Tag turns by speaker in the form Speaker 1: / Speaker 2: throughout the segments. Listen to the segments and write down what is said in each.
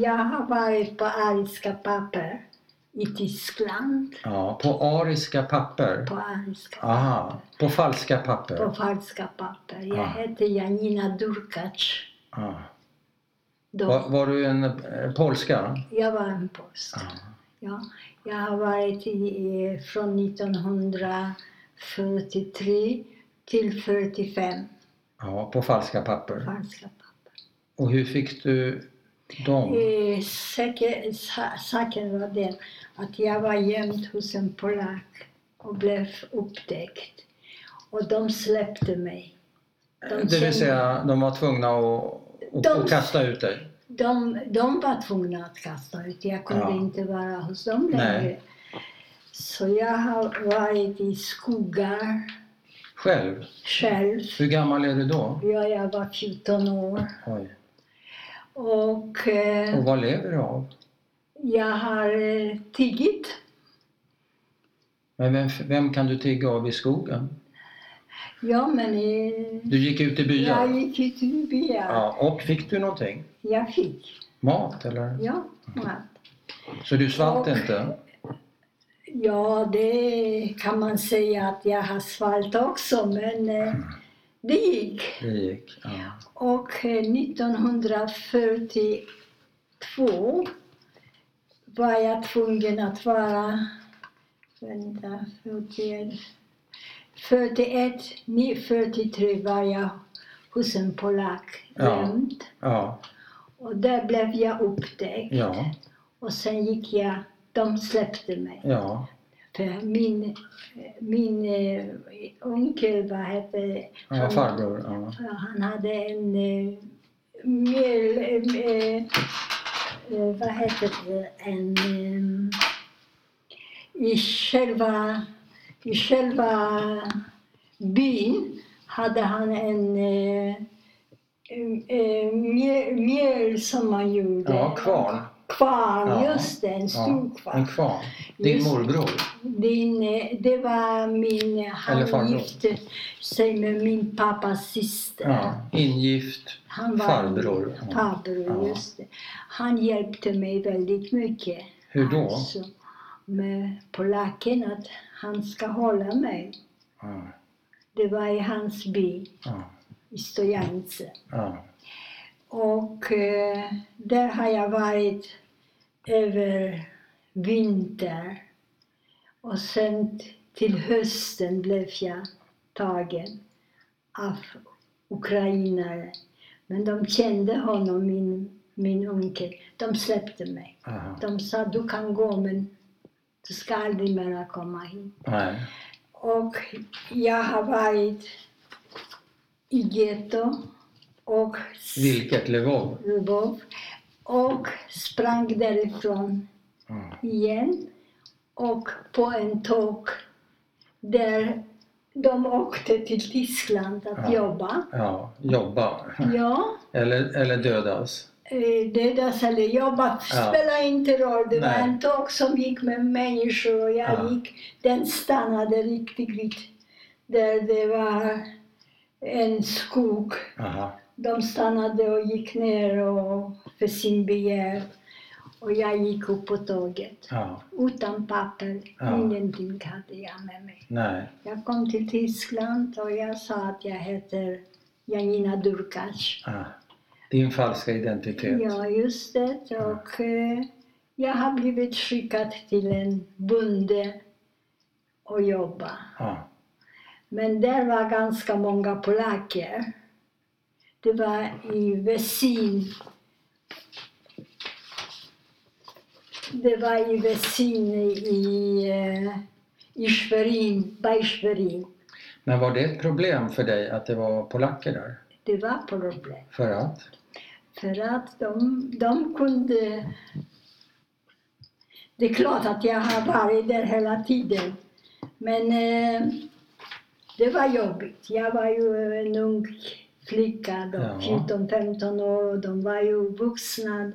Speaker 1: jag har varit på ariska papper i Tyskland.
Speaker 2: Ja, på ariska papper?
Speaker 1: På ariska
Speaker 2: Ah, Aha, på falska papper?
Speaker 1: papper. På falska papper. Jag
Speaker 2: Ah.
Speaker 1: hette Janina Durkac.
Speaker 2: Ja.
Speaker 1: Då.
Speaker 2: Var, var du en eh, polska?
Speaker 1: Jag var en post.
Speaker 2: Ja.
Speaker 1: Ja, jag har varit i, i, från 1943 till 45
Speaker 2: ja, på falska papper.
Speaker 1: falska papper.
Speaker 2: Och hur fick du dem?
Speaker 1: Eh, säker- sa- Saken var den att jag var gömd hos en polack och blev upptäckt. Och de släppte mig. de
Speaker 2: Eh, Det
Speaker 1: kände-
Speaker 2: vill säga, de var tvungna att, att,
Speaker 1: De-
Speaker 2: att kasta ut dig?
Speaker 1: De, de var tvungna att kasta ut. Jag kunde
Speaker 2: Ja.
Speaker 1: inte vara hos dem
Speaker 2: Nej.
Speaker 1: längre. Så jag har varit i skogar
Speaker 2: Själv?
Speaker 1: själv.
Speaker 2: Hur gammal är du då?
Speaker 1: Ja, jag var 14 år.
Speaker 2: Oj.
Speaker 1: Och eh,
Speaker 2: Och vad lever du av?
Speaker 1: jag har eh, tiggit.
Speaker 2: Men vem, vem kan du tigga av i skogen?
Speaker 1: Ja, men eh,
Speaker 2: Du gick ut i byar?
Speaker 1: jag gick ut i byar.
Speaker 2: Ja, och fick du någonting?
Speaker 1: Jag fick.
Speaker 2: Mat eller?
Speaker 1: Ja, mat.
Speaker 2: Så du svalt
Speaker 1: Och-
Speaker 2: inte?
Speaker 1: ja, det kan man säga att jag har svalt också, men eh, det gick.
Speaker 2: Det gick. Ja.
Speaker 1: Och eh, 1942 var jag tvungen att vara... Vänta, 41... 41, ni- 43 var jag hos en polack
Speaker 2: Ja.
Speaker 1: gömd.
Speaker 2: Ja.
Speaker 1: Och där blev jag upptäckt.
Speaker 2: Ja.
Speaker 1: Och sen gick jag... De släppte mig.
Speaker 2: ja.
Speaker 1: För min, min eh, onkel, vad hette
Speaker 2: ja. Farbror? Ja.
Speaker 1: Ja, Han hade en eh, mjöl... eh, eh, eh, vad heter det? En... eh, I själva, I själva byn hade han en eh, eh, mjöl, mjöl som man gjorde.
Speaker 2: ja, kvarn.
Speaker 1: Kvarn,
Speaker 2: Ja.
Speaker 1: just det. En
Speaker 2: Ja.
Speaker 1: stor kvarn.
Speaker 2: En kvarn. Din
Speaker 1: Just-
Speaker 2: morbror?
Speaker 1: Din, eh, det var min...
Speaker 2: Eller
Speaker 1: Han
Speaker 2: farbror.
Speaker 1: gifte sig med min pappas syster.
Speaker 2: Ja. Ingift?
Speaker 1: Han var
Speaker 2: Farbror. Ja.
Speaker 1: Farbror,
Speaker 2: Ja.
Speaker 1: just det. Han hjälpte mig väldigt mycket.
Speaker 2: Hur då?
Speaker 1: Alltså, med polacken, att han ska hålla mig.
Speaker 2: Ja.
Speaker 1: Det var i hans by,
Speaker 2: Ja.
Speaker 1: i Stojance.
Speaker 2: Ja.
Speaker 1: Och eh, där har jag varit över vinter. Och sen t- till hösten blev jag tagen av ukrainare. Men de kände honom, min, min onkel. De släppte mig.
Speaker 2: Ja.
Speaker 1: De sa du kan gå men du ska aldrig mera komma hit.
Speaker 2: Nej.
Speaker 1: Och jag har varit i getto och
Speaker 2: Vilket Lvov?
Speaker 1: Lvov och sprang därifrån
Speaker 2: Ja.
Speaker 1: igen och på en tåg där de åkte till Tyskland att
Speaker 2: Ja.
Speaker 1: jobba.
Speaker 2: ja. Jobba.
Speaker 1: Ja,
Speaker 2: Eller, eller dödas.
Speaker 1: eh, dödas eller jobba
Speaker 2: Ja.
Speaker 1: spelar inte roll. Det var
Speaker 2: Nej.
Speaker 1: en tåg som gick med människor och jag
Speaker 2: Ja.
Speaker 1: gick. Den stannade riktigt vid där det var en skog.
Speaker 2: Aha.
Speaker 1: De stannade och gick ner och, för sin begär. Och jag gick upp på tåget.
Speaker 2: Ja.
Speaker 1: Utan papper,
Speaker 2: Ja.
Speaker 1: ingenting hade jag med mig.
Speaker 2: Nej.
Speaker 1: Jag kom till Tyskland och jag sa att jag heter Janina Durkac.
Speaker 2: Ah, din falska identitet.
Speaker 1: Ja, just det. Och eh, jag har blivit skickad till en bonde och jobba.
Speaker 2: Ah,
Speaker 1: Men där var ganska många polacker. Det var i Vesin. Det var i Vesin i, eh, i Schwerin, by Schwerin.
Speaker 2: Men var det ett problem för dig att det var polacker där?
Speaker 1: Det var problem.
Speaker 2: För att?
Speaker 1: För att de, de kunde... Det är klart att jag har varit där hela tiden. Men eh, det var jobbigt. Jag var ju en ung flicka då,
Speaker 2: Ja.
Speaker 1: 14-15 år och de var ju vuxna,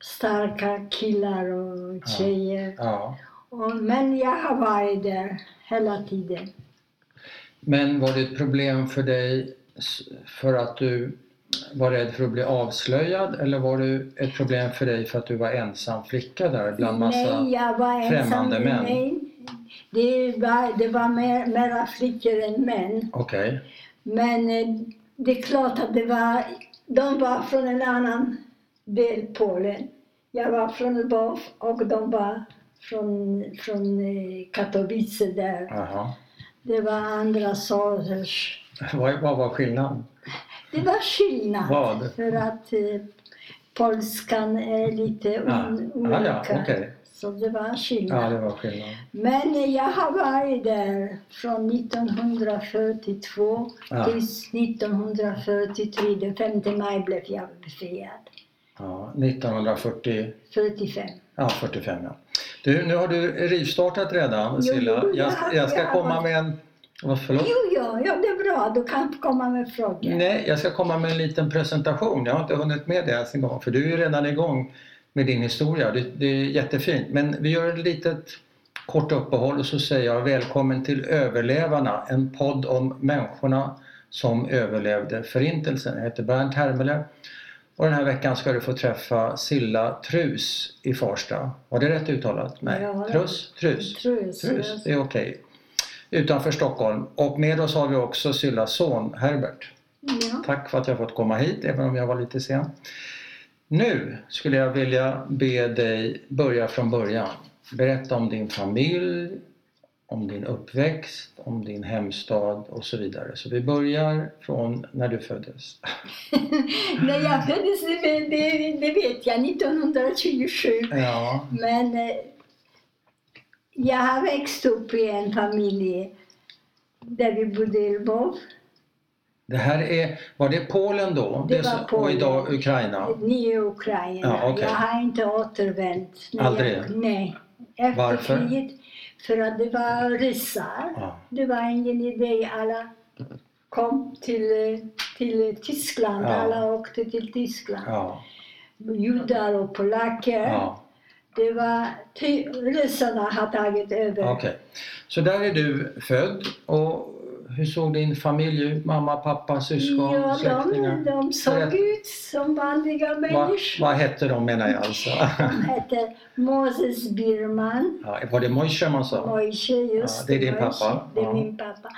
Speaker 1: starka killar och
Speaker 2: Ja.
Speaker 1: tjejer.
Speaker 2: Ja.
Speaker 1: Och, men jag har varit där hela tiden.
Speaker 2: Men var det ett problem för dig s- för att du var rädd för att bli avslöjad eller var det ett problem för dig för att du var ensam flicka där bland massa...
Speaker 1: Nej, jag var ensam.
Speaker 2: främmande män.
Speaker 1: Nej, det var, det var mer, mera flickor än män.
Speaker 2: Okej.
Speaker 1: Men eh, det är klart att det var, de var från en annan del Polen. Jag var från Lvov och de var från, från eh, Katowice där.
Speaker 2: Jaha.
Speaker 1: Det var andra sorters...
Speaker 2: Vad, vad var skillnaden?
Speaker 1: Det var skillnad.
Speaker 2: Vad?
Speaker 1: För att eh, polskan är lite
Speaker 2: Ah.
Speaker 1: un,
Speaker 2: Ah,
Speaker 1: olika.
Speaker 2: ja, okej.
Speaker 1: Så det var skillnad.
Speaker 2: Ja, det var skillnad.
Speaker 1: Men jag har varit där från 1942
Speaker 2: Ja.
Speaker 1: tills 1943. Den 5 maj blev jag befriad.
Speaker 2: Ja, 1940...
Speaker 1: 45.
Speaker 2: Ja, 45 ja. Du, nu har du rivstartat redan
Speaker 1: Jo,
Speaker 2: Silla.
Speaker 1: jo,
Speaker 2: Jag,
Speaker 1: jag-
Speaker 2: jag ska
Speaker 1: jag-
Speaker 2: komma med en... Vad, förlåt?
Speaker 1: Jo, jo, ja, det är bra. Du kan komma med frågor.
Speaker 2: Nej, jag ska komma med en liten presentation. Jag har inte hunnit med det ens en gång för du är ju redan igång med din historia. Det, det är jättefint. Men vi gör ett litet kort uppehåll och så säger jag välkommen till Överlevarna, en podd om människorna som överlevde Förintelsen. Jag heter Bernt Hermele och den här veckan ska du få träffa Silla Trus i Farsta. Var det rätt uttalat? Nej,
Speaker 1: Ja, det-
Speaker 2: Trus? Trus?
Speaker 1: Trus.
Speaker 2: Trus, det är okej. Utanför Stockholm. Och med oss har vi också Syllas son Herbert.
Speaker 1: Ja.
Speaker 2: Tack för att jag fått komma hit, även om jag var lite sen. Nu skulle jag vilja be dig börja från början. Berätta om din familj, om din uppväxt, om din hemstad och så vidare. Så vi börjar från när du föddes.
Speaker 1: När jag föddes, det, det, det vet jag, 1927.
Speaker 2: Ja,
Speaker 1: Men eh, jag har växt upp i en familj där vi bodde i Lvov.
Speaker 2: det här är, var det Polen då?
Speaker 1: Det
Speaker 2: är så-
Speaker 1: var Polen.
Speaker 2: Och idag Ukraina?
Speaker 1: Ni är Ukraina.
Speaker 2: Ja, okej.
Speaker 1: Jag har inte återvänt. när
Speaker 2: Aldrig?
Speaker 1: Jag, nej. Efter
Speaker 2: Varför?
Speaker 1: kriget. För att det var ryssar.
Speaker 2: Ja.
Speaker 1: Det var ingen idé. Alla kom till, eh, till Tyskland.
Speaker 2: Ja.
Speaker 1: Alla åkte till Tyskland.
Speaker 2: Ja.
Speaker 1: Judar och polacker.
Speaker 2: ja.
Speaker 1: Det var ty- ryssarna har tagit över.
Speaker 2: Okej. Så där är du född och hur såg din familj ut? Mamma, pappa, syskon,
Speaker 1: Ja, de,
Speaker 2: släktingar?
Speaker 1: de såg
Speaker 2: Berätta.
Speaker 1: ut som vanliga
Speaker 2: Vad,
Speaker 1: människor.
Speaker 2: vad hette de menar jag alltså?
Speaker 1: De hette Moses Birman.
Speaker 2: Ja, var det Mojse man sa?
Speaker 1: Mojse, just
Speaker 2: Ja, det är din
Speaker 1: Mojse.
Speaker 2: pappa.
Speaker 1: Det är
Speaker 2: Ja.
Speaker 1: min pappa.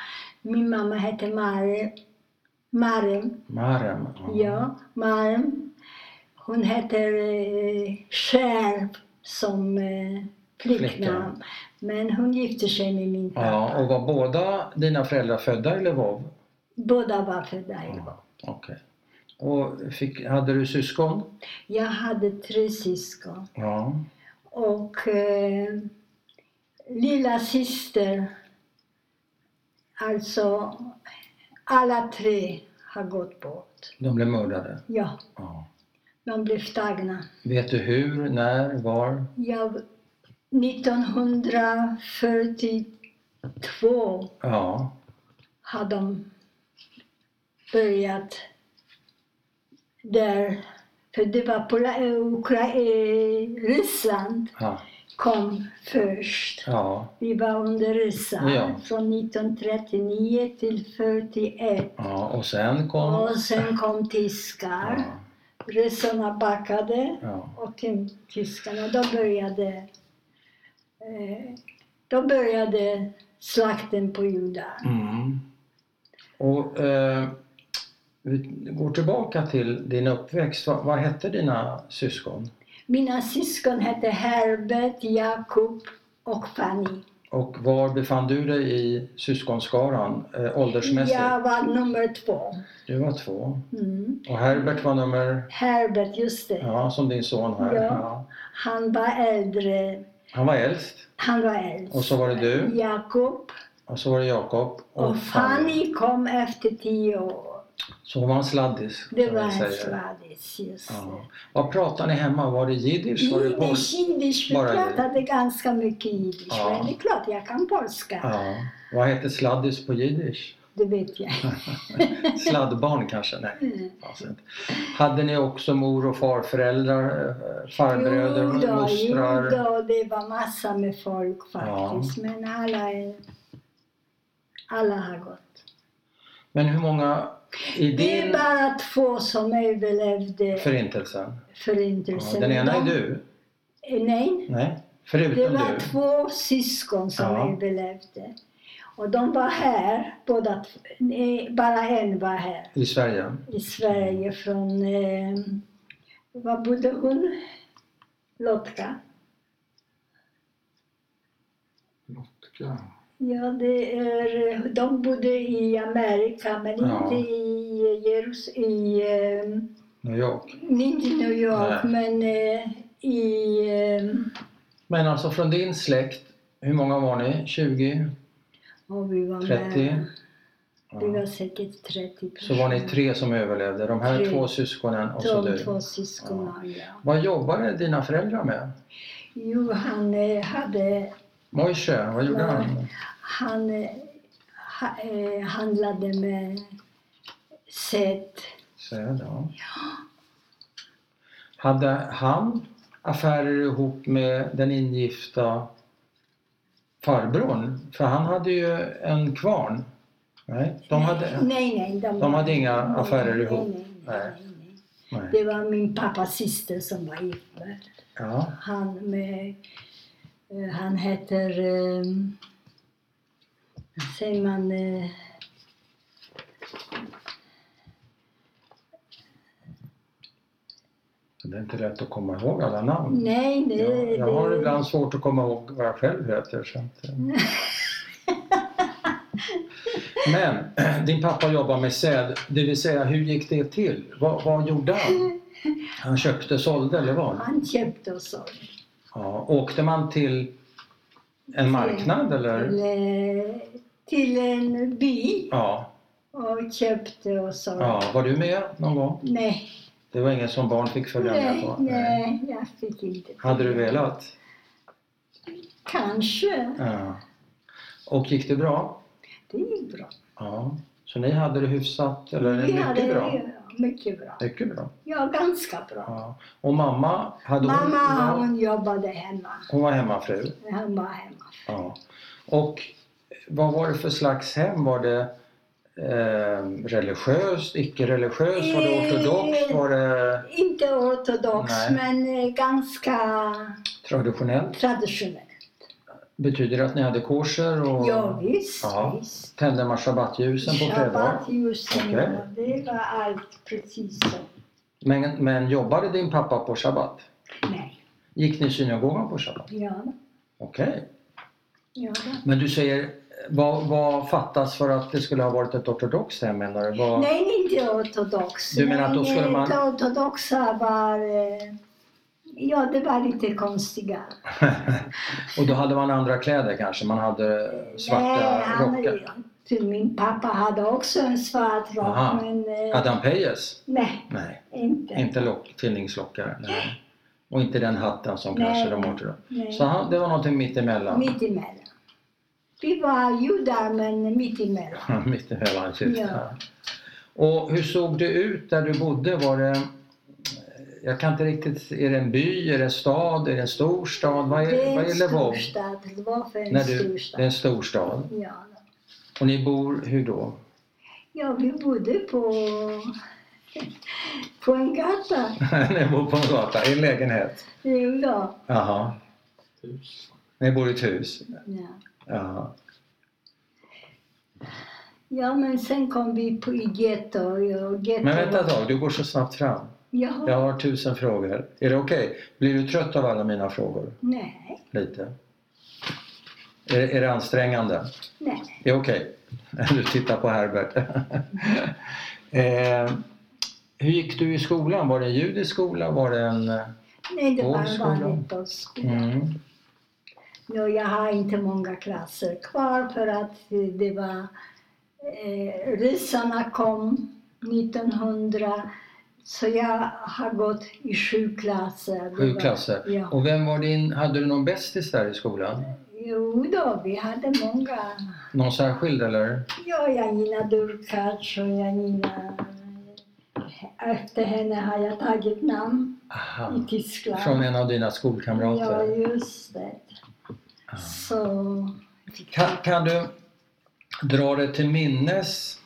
Speaker 1: Min mamma hette Mare. Marem,
Speaker 2: Mm. Marem?
Speaker 1: ja. Marem. Hon heter eh, Skär som eh,
Speaker 2: Flicknamn.
Speaker 1: flicknamn. Men hon gifte sig med min pappa.
Speaker 2: ja. Och var båda dina föräldrar födda i Lvov?
Speaker 1: Båda var födda
Speaker 2: Mm.
Speaker 1: i Lvov.
Speaker 2: Okej. Och fick, hade du syskon?
Speaker 1: Jag hade tre syskon.
Speaker 2: Ja.
Speaker 1: Och eh, lilla syster, alltså alla tre har gått bort.
Speaker 2: De blev mördade?
Speaker 1: Ja,
Speaker 2: Ja.
Speaker 1: de blev tagna.
Speaker 2: Vet du hur, när, var?
Speaker 1: Jag, 1942
Speaker 2: Ja.
Speaker 1: har de börjat där. För det var Pola- eh, Ukra- eh, Ryssland
Speaker 2: Ja.
Speaker 1: kom först.
Speaker 2: Ja.
Speaker 1: Vi var under resan
Speaker 2: Ja.
Speaker 1: från 1939 till 41.
Speaker 2: ja. Och sen kom...
Speaker 1: Och sen kom tyskar.
Speaker 2: ja.
Speaker 1: Ryssarna backade
Speaker 2: ja.
Speaker 1: och till tyskarna. Då började, eh, då började slakten på judar.
Speaker 2: Mm. Och eh, vi går tillbaka till din uppväxt. Vad, vad hette dina syskon?
Speaker 1: Mina syskon hette Herbert, Jakob och Fanny.
Speaker 2: Och var befann du dig i syskonskaran eh, åldersmässigt?
Speaker 1: Jag var nummer två.
Speaker 2: Du var två.
Speaker 1: Mm.
Speaker 2: Och Herbert var nummer...
Speaker 1: Herbert, just det.
Speaker 2: Ja, som din son här.
Speaker 1: Ja. Han var äldre.
Speaker 2: Han var äldst.
Speaker 1: Han var äldst.
Speaker 2: Och så var det du.
Speaker 1: Jakob.
Speaker 2: Och så var det Jakob.
Speaker 1: Och Fanny kom efter tio år.
Speaker 2: Så hon var en sladdis.
Speaker 1: Det
Speaker 2: kan
Speaker 1: var
Speaker 2: man
Speaker 1: en
Speaker 2: säga.
Speaker 1: sladdis, just det.
Speaker 2: Ja. Vad pratade ni hemma? Var det jiddisch? Var det
Speaker 1: Jiddisch,
Speaker 2: polska?
Speaker 1: jiddisch. Vi
Speaker 2: Bara
Speaker 1: pratade ganska mycket jiddisch.
Speaker 2: Ja.
Speaker 1: Men det är klart, jag kan polska.
Speaker 2: Ja. Vad hette sladdis på jiddisch?
Speaker 1: Det vet jag. Mm.
Speaker 2: Sladdbarn kanske? Nej. Alltså, inte. hade ni också mor och farföräldrar, eh, farbröder,
Speaker 1: jo
Speaker 2: mostrar?
Speaker 1: då, det var massa med folk faktiskt. Men alla, är- alla har gått.
Speaker 2: Men hur många i
Speaker 1: Det är
Speaker 2: din
Speaker 1: bara två som överlevde
Speaker 2: förintelsen?
Speaker 1: förintelsen.
Speaker 2: Ja, den ena är
Speaker 1: De-
Speaker 2: du?
Speaker 1: Eh, Nej,
Speaker 2: Nej,
Speaker 1: Det
Speaker 2: förutom
Speaker 1: var
Speaker 2: du.
Speaker 1: två syskon som
Speaker 2: Ja.
Speaker 1: överlevde. Och de var här, båda, t- nej, bara en var här
Speaker 2: I Sverige?
Speaker 1: i Sverige från, eh, var bodde hon? Lotka.
Speaker 2: Lotka.
Speaker 1: Ja, det är, eh, de bodde i Amerika men
Speaker 2: Ja.
Speaker 1: inte i Jerus, i, eh,
Speaker 2: New York.
Speaker 1: inte i New York
Speaker 2: Nej.
Speaker 1: men eh, i, eh,
Speaker 2: Men alltså från din släkt, hur många var ni? 20?
Speaker 1: och vi var
Speaker 2: 30?
Speaker 1: med,
Speaker 2: Ja.
Speaker 1: vi var säkert 30 personer.
Speaker 2: Så var ni tre som överlevde, de här
Speaker 1: Tre.
Speaker 2: två syskonen och så
Speaker 1: De
Speaker 2: du.
Speaker 1: två syskonen, ja.
Speaker 2: Vad jobbade dina föräldrar med?
Speaker 1: Jo, han eh, hade...
Speaker 2: Mojse, vad gjorde
Speaker 1: Ja.
Speaker 2: han?
Speaker 1: Han eh, ha, eh, handlade med sätt.
Speaker 2: Säd, ja. Hade han affärer ihop med den ingifta farbrorn? För han hade ju en kvarn. Nej, de hade...
Speaker 1: Nej, nej. De,
Speaker 2: de hade inga
Speaker 1: nej,
Speaker 2: affärer
Speaker 1: nej,
Speaker 2: ihop.
Speaker 1: Nej, nej, nej, nej.
Speaker 2: Nej.
Speaker 1: Det var min pappas syster som var gift med
Speaker 2: Ja,
Speaker 1: han. Med, eh, han heter... Eh, vad säger man? Eh,
Speaker 2: det är inte lätt att komma ihåg alla namn.
Speaker 1: nej, det...
Speaker 2: Jag, jag
Speaker 1: det-
Speaker 2: har ibland svårt att komma ihåg vad jag själv heter. Så att, eh. Men din pappa jobbar med säd, det vill säga hur gick det till? Vad, vad gjorde han? Han köpte, sålde eller vad?
Speaker 1: Han köpte och sålde.
Speaker 2: Ja, åkte man till
Speaker 1: Mm.
Speaker 2: en marknad eller?
Speaker 1: Till, eh, till en by
Speaker 2: Ja,
Speaker 1: och köpte och sålde.
Speaker 2: ja. Var du med någon gång?
Speaker 1: Nej,
Speaker 2: Det var ingen som barn fick följa med
Speaker 1: nej,
Speaker 2: på?
Speaker 1: nej, jag fick inte.
Speaker 2: Hade du velat?
Speaker 1: Kanske.
Speaker 2: Ja. Och gick det bra?
Speaker 1: Det gick bra.
Speaker 2: Ja. Så ni hade det hyfsat, eller mycket bra?
Speaker 1: mycket bra.
Speaker 2: Mycket bra.
Speaker 1: Ja, ganska bra.
Speaker 2: Ja. Och mamma, hade hon,
Speaker 1: Mamma,
Speaker 2: ja,
Speaker 1: hon jobbade hemma.
Speaker 2: hon var hemmafru?
Speaker 1: Han var hemma.
Speaker 2: Ja. Och vad var det för slags hem? Var det eh, religiöst, icke-religiöst, var
Speaker 1: Eh,
Speaker 2: det ortodoxt, var det
Speaker 1: Inte ortodox,
Speaker 2: Nej.
Speaker 1: men eh, ganska
Speaker 2: traditionellt?
Speaker 1: traditionell.
Speaker 2: Betyder det att ni hade korser och
Speaker 1: Ja, visst.
Speaker 2: Ja.
Speaker 1: visst.
Speaker 2: tände man shabbatljusen på fredagar?
Speaker 1: Shabbatljusen,
Speaker 2: Okej.
Speaker 1: ja, det var allt precis så.
Speaker 2: Men, men jobbade din pappa på shabbat?
Speaker 1: Nej,
Speaker 2: Gick ni i synagogan på shabbat?
Speaker 1: ja,
Speaker 2: Okej.
Speaker 1: ja.
Speaker 2: Men du säger, vad, vad fattas för att det skulle ha varit ett ortodoxt hem menar du? Vad,
Speaker 1: Nej, inte ortodox.
Speaker 2: Du menar att då
Speaker 1: Men,
Speaker 2: skulle
Speaker 1: eh,
Speaker 2: man-
Speaker 1: de ortodoxa var... eh, Ja, det var lite konstiga.
Speaker 2: och då hade man andra kläder kanske? Man hade
Speaker 1: Nej,
Speaker 2: svarta
Speaker 1: han-
Speaker 2: rockar?
Speaker 1: Till min pappa hade också en svart rock,
Speaker 2: Aha.
Speaker 1: men... eh,
Speaker 2: Hade han pejes?
Speaker 1: Nej,
Speaker 2: Nej,
Speaker 1: inte.
Speaker 2: inte lock, tinningslockar. Nej. Och inte den hatten som
Speaker 1: Nej.
Speaker 2: kanske de ortodoxa.
Speaker 1: Nej.
Speaker 2: Så han, det var någonting mittemellan?
Speaker 1: Mitt emellan. Vi var judar, men mitt emellan.
Speaker 2: Mitt i mellankyst.
Speaker 1: Ja.
Speaker 2: Och hur såg det ut där du bodde? Var det, jag kan inte riktigt, är det en by, är det en stad, är det en stor stad? Vad
Speaker 1: det
Speaker 2: är, vad
Speaker 1: är
Speaker 2: är
Speaker 1: en
Speaker 2: Lvov?
Speaker 1: storstad. Lvov är en
Speaker 2: När du, det är
Speaker 1: storstad.
Speaker 2: en stor stad.
Speaker 1: Ja.
Speaker 2: Och ni bor, hur då?
Speaker 1: ja, vi bodde på... på en gata.
Speaker 2: ni bor på en gata, i en lägenhet?
Speaker 1: Jo då.
Speaker 2: Jaha. Ni bor i ett hus?
Speaker 1: Ja.
Speaker 2: Jaha.
Speaker 1: Ja, men sen kom vi på, i getto. Och getto
Speaker 2: Men vänta ett tag, du går så snabbt fram.
Speaker 1: Jaha,
Speaker 2: Jag har tusen frågor. Är det okej? Blir du trött av alla mina frågor?
Speaker 1: nej,
Speaker 2: Lite? Är, är det ansträngande?
Speaker 1: nej.
Speaker 2: Det är okej. Du tittar på Herbert. eh, hur gick du i skolan? Var det en judisk skola? Var det en... eh,
Speaker 1: Nej, det var en
Speaker 2: Folkskolan.
Speaker 1: vanlig folkskola.
Speaker 2: Mm.
Speaker 1: Ja, jag har inte många klasser kvar för att eh, det var... Eh, ryssarna kom 1900 så jag har gått i sju klasser. Det
Speaker 2: Sju
Speaker 1: var-
Speaker 2: klasser.
Speaker 1: Ja.
Speaker 2: Och vem var din... Hade du någon bästis där i skolan?
Speaker 1: Jo då, vi hade många.
Speaker 2: Någon särskild eller?
Speaker 1: Ja, Janina Durkac och Janina... Efter henne har jag tagit namn
Speaker 2: Aha.
Speaker 1: i Tyskland.
Speaker 2: Från en av dina
Speaker 1: Ja,
Speaker 2: skolkamrater?
Speaker 1: just det.
Speaker 2: Ja.
Speaker 1: Så...
Speaker 2: Kan, kan du dra dig till minnes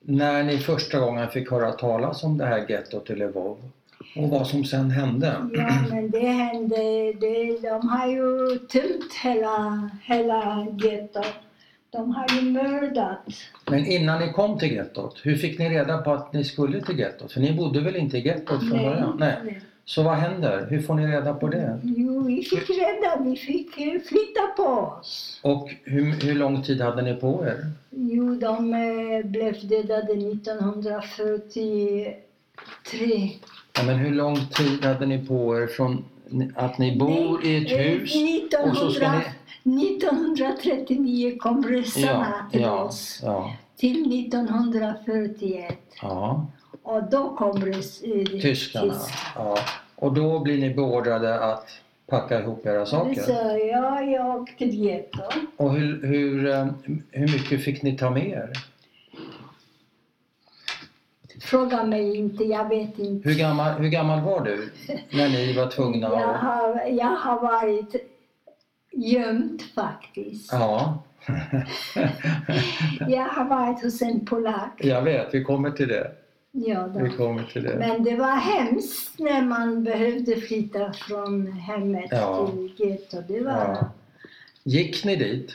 Speaker 2: när ni första gången fick höra talas om det här gettot i Lvov och vad som sen hände.
Speaker 1: Ja, men det hände, det, de har ju tömt hela, hela gettot. De har ju mördat.
Speaker 2: Men innan ni kom till gettot, hur fick ni reda på att ni skulle till gettot? För ni bodde väl inte i gettot från början? Nej.
Speaker 1: nej.
Speaker 2: Så vad händer? Hur får ni reda på det?
Speaker 1: Jo, vi fick rädda, vi fick eh, flytta på oss.
Speaker 2: Och hur, hur lång tid hade ni på er?
Speaker 1: Jo, de eh, blev dödade 1943.
Speaker 2: Ja, men hur lång tid hade ni på er från att ni bor i ett
Speaker 1: Eh,
Speaker 2: hus?
Speaker 1: 1900,
Speaker 2: och så ska ni-
Speaker 1: 1939 kom ryssarna till
Speaker 2: ja,
Speaker 1: oss.
Speaker 2: ja,
Speaker 1: Till 1941.
Speaker 2: ja.
Speaker 1: Och då kom rys- eh,
Speaker 2: Tyskarna. Ja. Och då blir ni beordrade att packa ihop era
Speaker 1: Det
Speaker 2: saker.
Speaker 1: sa jag, jag åkte till getto.
Speaker 2: Och hur, hur, eh, hur mycket fick ni ta med er?
Speaker 1: Fråga mig inte, jag vet inte.
Speaker 2: Hur gammal, hur gammal var du när ni var tvungna
Speaker 1: Jag
Speaker 2: att...
Speaker 1: har, jag har varit gömd faktiskt.
Speaker 2: Ja,
Speaker 1: Jag har varit hos en polack.
Speaker 2: jag vet. Vi kommer till det.
Speaker 1: Ja, då.
Speaker 2: Vi kommer till det.
Speaker 1: Men det var hemskt när man behövde flytta från hemmet
Speaker 2: Ja.
Speaker 1: till getto. Det var...
Speaker 2: Ja.
Speaker 1: Ja.
Speaker 2: Gick ni dit?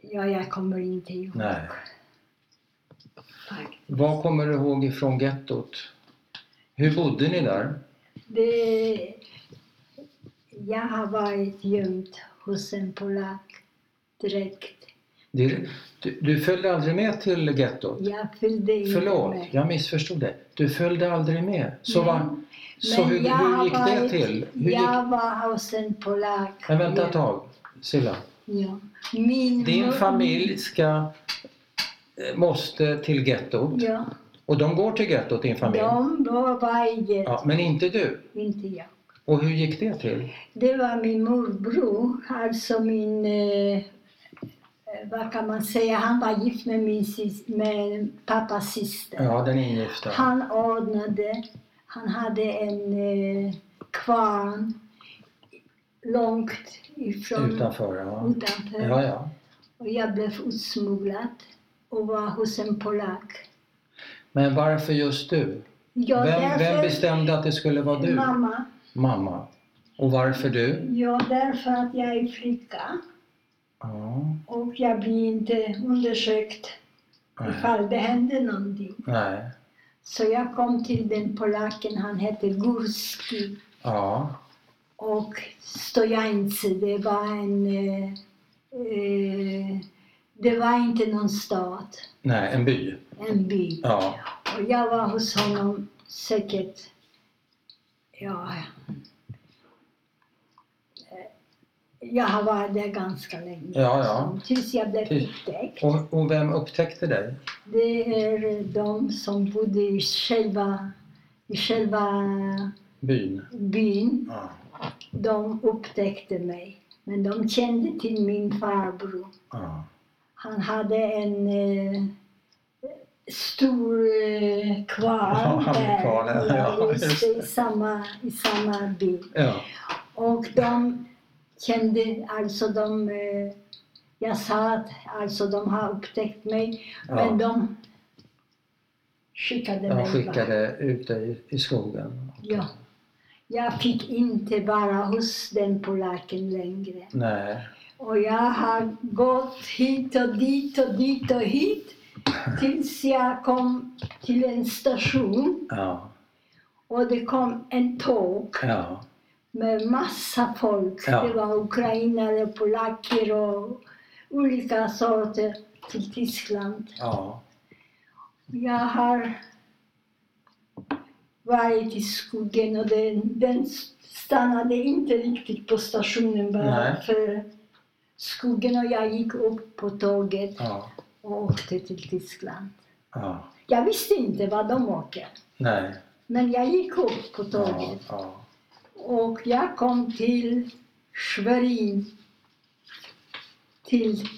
Speaker 1: jag kommer inte ihåg.
Speaker 2: Nej.
Speaker 1: faktiskt.
Speaker 2: Vad kommer du ihåg ifrån gettot? Hur bodde ni där?
Speaker 1: Det, jag har varit gömd hos en polack direkt.
Speaker 2: Det- Du, du följde aldrig med till gettot?
Speaker 1: Jag fyllde inte
Speaker 2: Förlåt,
Speaker 1: mig.
Speaker 2: jag missförstod dig. Du följde aldrig med. Så,
Speaker 1: Nej.
Speaker 2: va, så
Speaker 1: Men
Speaker 2: hur,
Speaker 1: jag
Speaker 2: hur
Speaker 1: har
Speaker 2: gick det
Speaker 1: varit-
Speaker 2: till? Hur gick,
Speaker 1: Jag var hos en polack.
Speaker 2: men vänta ett
Speaker 1: ja,
Speaker 2: tag, Silla.
Speaker 1: ja. Min
Speaker 2: Din
Speaker 1: mor-
Speaker 2: familj ska, eh, måste till gettot.
Speaker 1: Ja,
Speaker 2: Och de går till gettot, din familj?
Speaker 1: de var varje,
Speaker 2: Ja, men inte du?
Speaker 1: inte jag.
Speaker 2: Och hur gick det till?
Speaker 1: Det var min morbror, alltså min, eh, eh, vad kan man säga, han var gift med min sys- med pappas syster.
Speaker 2: Ja, den ingifta.
Speaker 1: Han ordnade, han hade en eh, kvarn långt ifrån,
Speaker 2: Utanför, ja.
Speaker 1: utanför.
Speaker 2: Ja, ja.
Speaker 1: Och jag blev utsmugglad och var hos en polack.
Speaker 2: Men varför just du?
Speaker 1: Ja,
Speaker 2: Vem, vem bestämde att det skulle vara du?
Speaker 1: Mamma.
Speaker 2: Mamma. Och varför du?
Speaker 1: Ja, därför att jag är flicka
Speaker 2: Ja.
Speaker 1: och jag blir inte undersökt
Speaker 2: Nej.
Speaker 1: ifall det hände någonting.
Speaker 2: Nej.
Speaker 1: Så jag kom till den polacken, han hette Gurski
Speaker 2: Ja.
Speaker 1: och Stojańce, det var en... Eh, eh, det var inte någon stad,
Speaker 2: Nej, en by.
Speaker 1: en by.
Speaker 2: Ja.
Speaker 1: Och jag var hos honom säkert, ja... eh, Jag har varit där ganska länge.
Speaker 2: Ja, ja.
Speaker 1: Tills jag blev
Speaker 2: Tills-
Speaker 1: upptäckt.
Speaker 2: Och, och vem upptäckte dig?
Speaker 1: Det är de som bodde i själva, i själva
Speaker 2: Byn?
Speaker 1: byn.
Speaker 2: Ja.
Speaker 1: De upptäckte mig. Men de kände till min farbror.
Speaker 2: ja.
Speaker 1: Han hade en eh, stor eh,
Speaker 2: Ja,
Speaker 1: kvarn
Speaker 2: han
Speaker 1: där.
Speaker 2: var kvar där, ja,
Speaker 1: just
Speaker 2: just
Speaker 1: det, i, samma, i samma by.
Speaker 2: ja.
Speaker 1: Och de kände, alltså de... Eh, jag sa att alltså de har upptäckt mig, men
Speaker 2: ja.
Speaker 1: de skickade
Speaker 2: De
Speaker 1: mig bara.
Speaker 2: skickade ut dig i skogen.
Speaker 1: Ja. Jag fick inte vara hos den polacken längre.
Speaker 2: Nej.
Speaker 1: Och jag har gått hit och dit och dit och hit tills jag kom till en station
Speaker 2: Ja.
Speaker 1: och det kom en tåg
Speaker 2: Ja.
Speaker 1: med massa folk.
Speaker 2: Ja.
Speaker 1: Det var ukrainare, polacker och olika sorter till Tyskland.
Speaker 2: Ja.
Speaker 1: Jag har varit i skogen och den, den stannade inte riktigt på stationen bara
Speaker 2: Nej.
Speaker 1: för skogen och jag gick upp på tåget
Speaker 2: Ja.
Speaker 1: och åkte till Tyskland.
Speaker 2: ja.
Speaker 1: Jag visste inte var de åker,
Speaker 2: Nej.
Speaker 1: men jag gick upp på
Speaker 2: Ja.
Speaker 1: tåget
Speaker 2: ja.
Speaker 1: och jag kom till Schwerin, till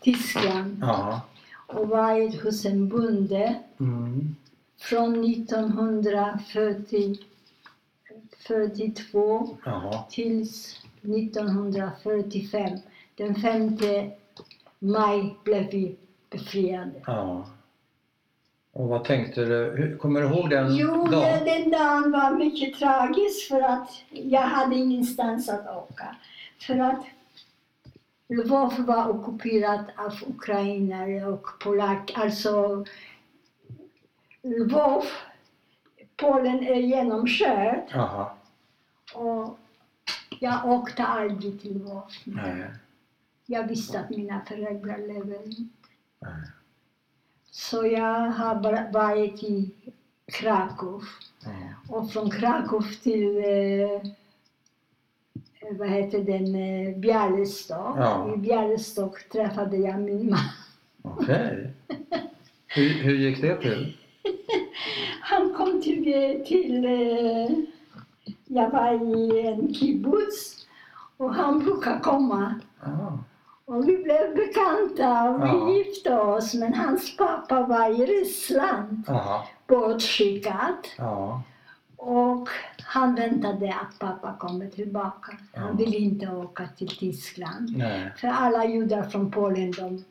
Speaker 1: Tyskland
Speaker 2: ja.
Speaker 1: och varit hos en bonde
Speaker 2: Mm.
Speaker 1: från 1942
Speaker 2: Ja.
Speaker 1: till 1945. Den 5 maj blev vi befriade.
Speaker 2: Ja. Och vad tänkte du? Hur- Kommer du ihåg den
Speaker 1: Jo,
Speaker 2: dagen?
Speaker 1: det- den dagen var mycket tragisk för att jag hade ingenstans att åka. För att Lvov var ockuperat av ukrainare och polacker. Alltså, Lvov, Polen är genomkört
Speaker 2: Jaha,
Speaker 1: och jag åkte aldrig till Lvov.
Speaker 2: nej.
Speaker 1: Jag visste att mina föräldrar lever
Speaker 2: nej.
Speaker 1: Så jag har bara varit i Krakow.
Speaker 2: Ja.
Speaker 1: Och från Krakow till eh, vad heter den, eh, Bialystok.
Speaker 2: Ja.
Speaker 1: I Bialystok träffade jag min man.
Speaker 2: Okej. Hur, hur gick det till?
Speaker 1: Han kom till, eh, till eh, jag var i en kibbutz och han brukar komma.
Speaker 2: Ah,
Speaker 1: Och vi blev bekanta och vi
Speaker 2: Ja.
Speaker 1: gifte oss. Men hans pappa var i Ryssland,
Speaker 2: aha,
Speaker 1: bortskickad.
Speaker 2: ja,
Speaker 1: Och han väntade att pappa kommer tillbaka.
Speaker 2: Ja.
Speaker 1: Han ville inte åka till Tyskland.
Speaker 2: nej,
Speaker 1: För alla judar från Polen de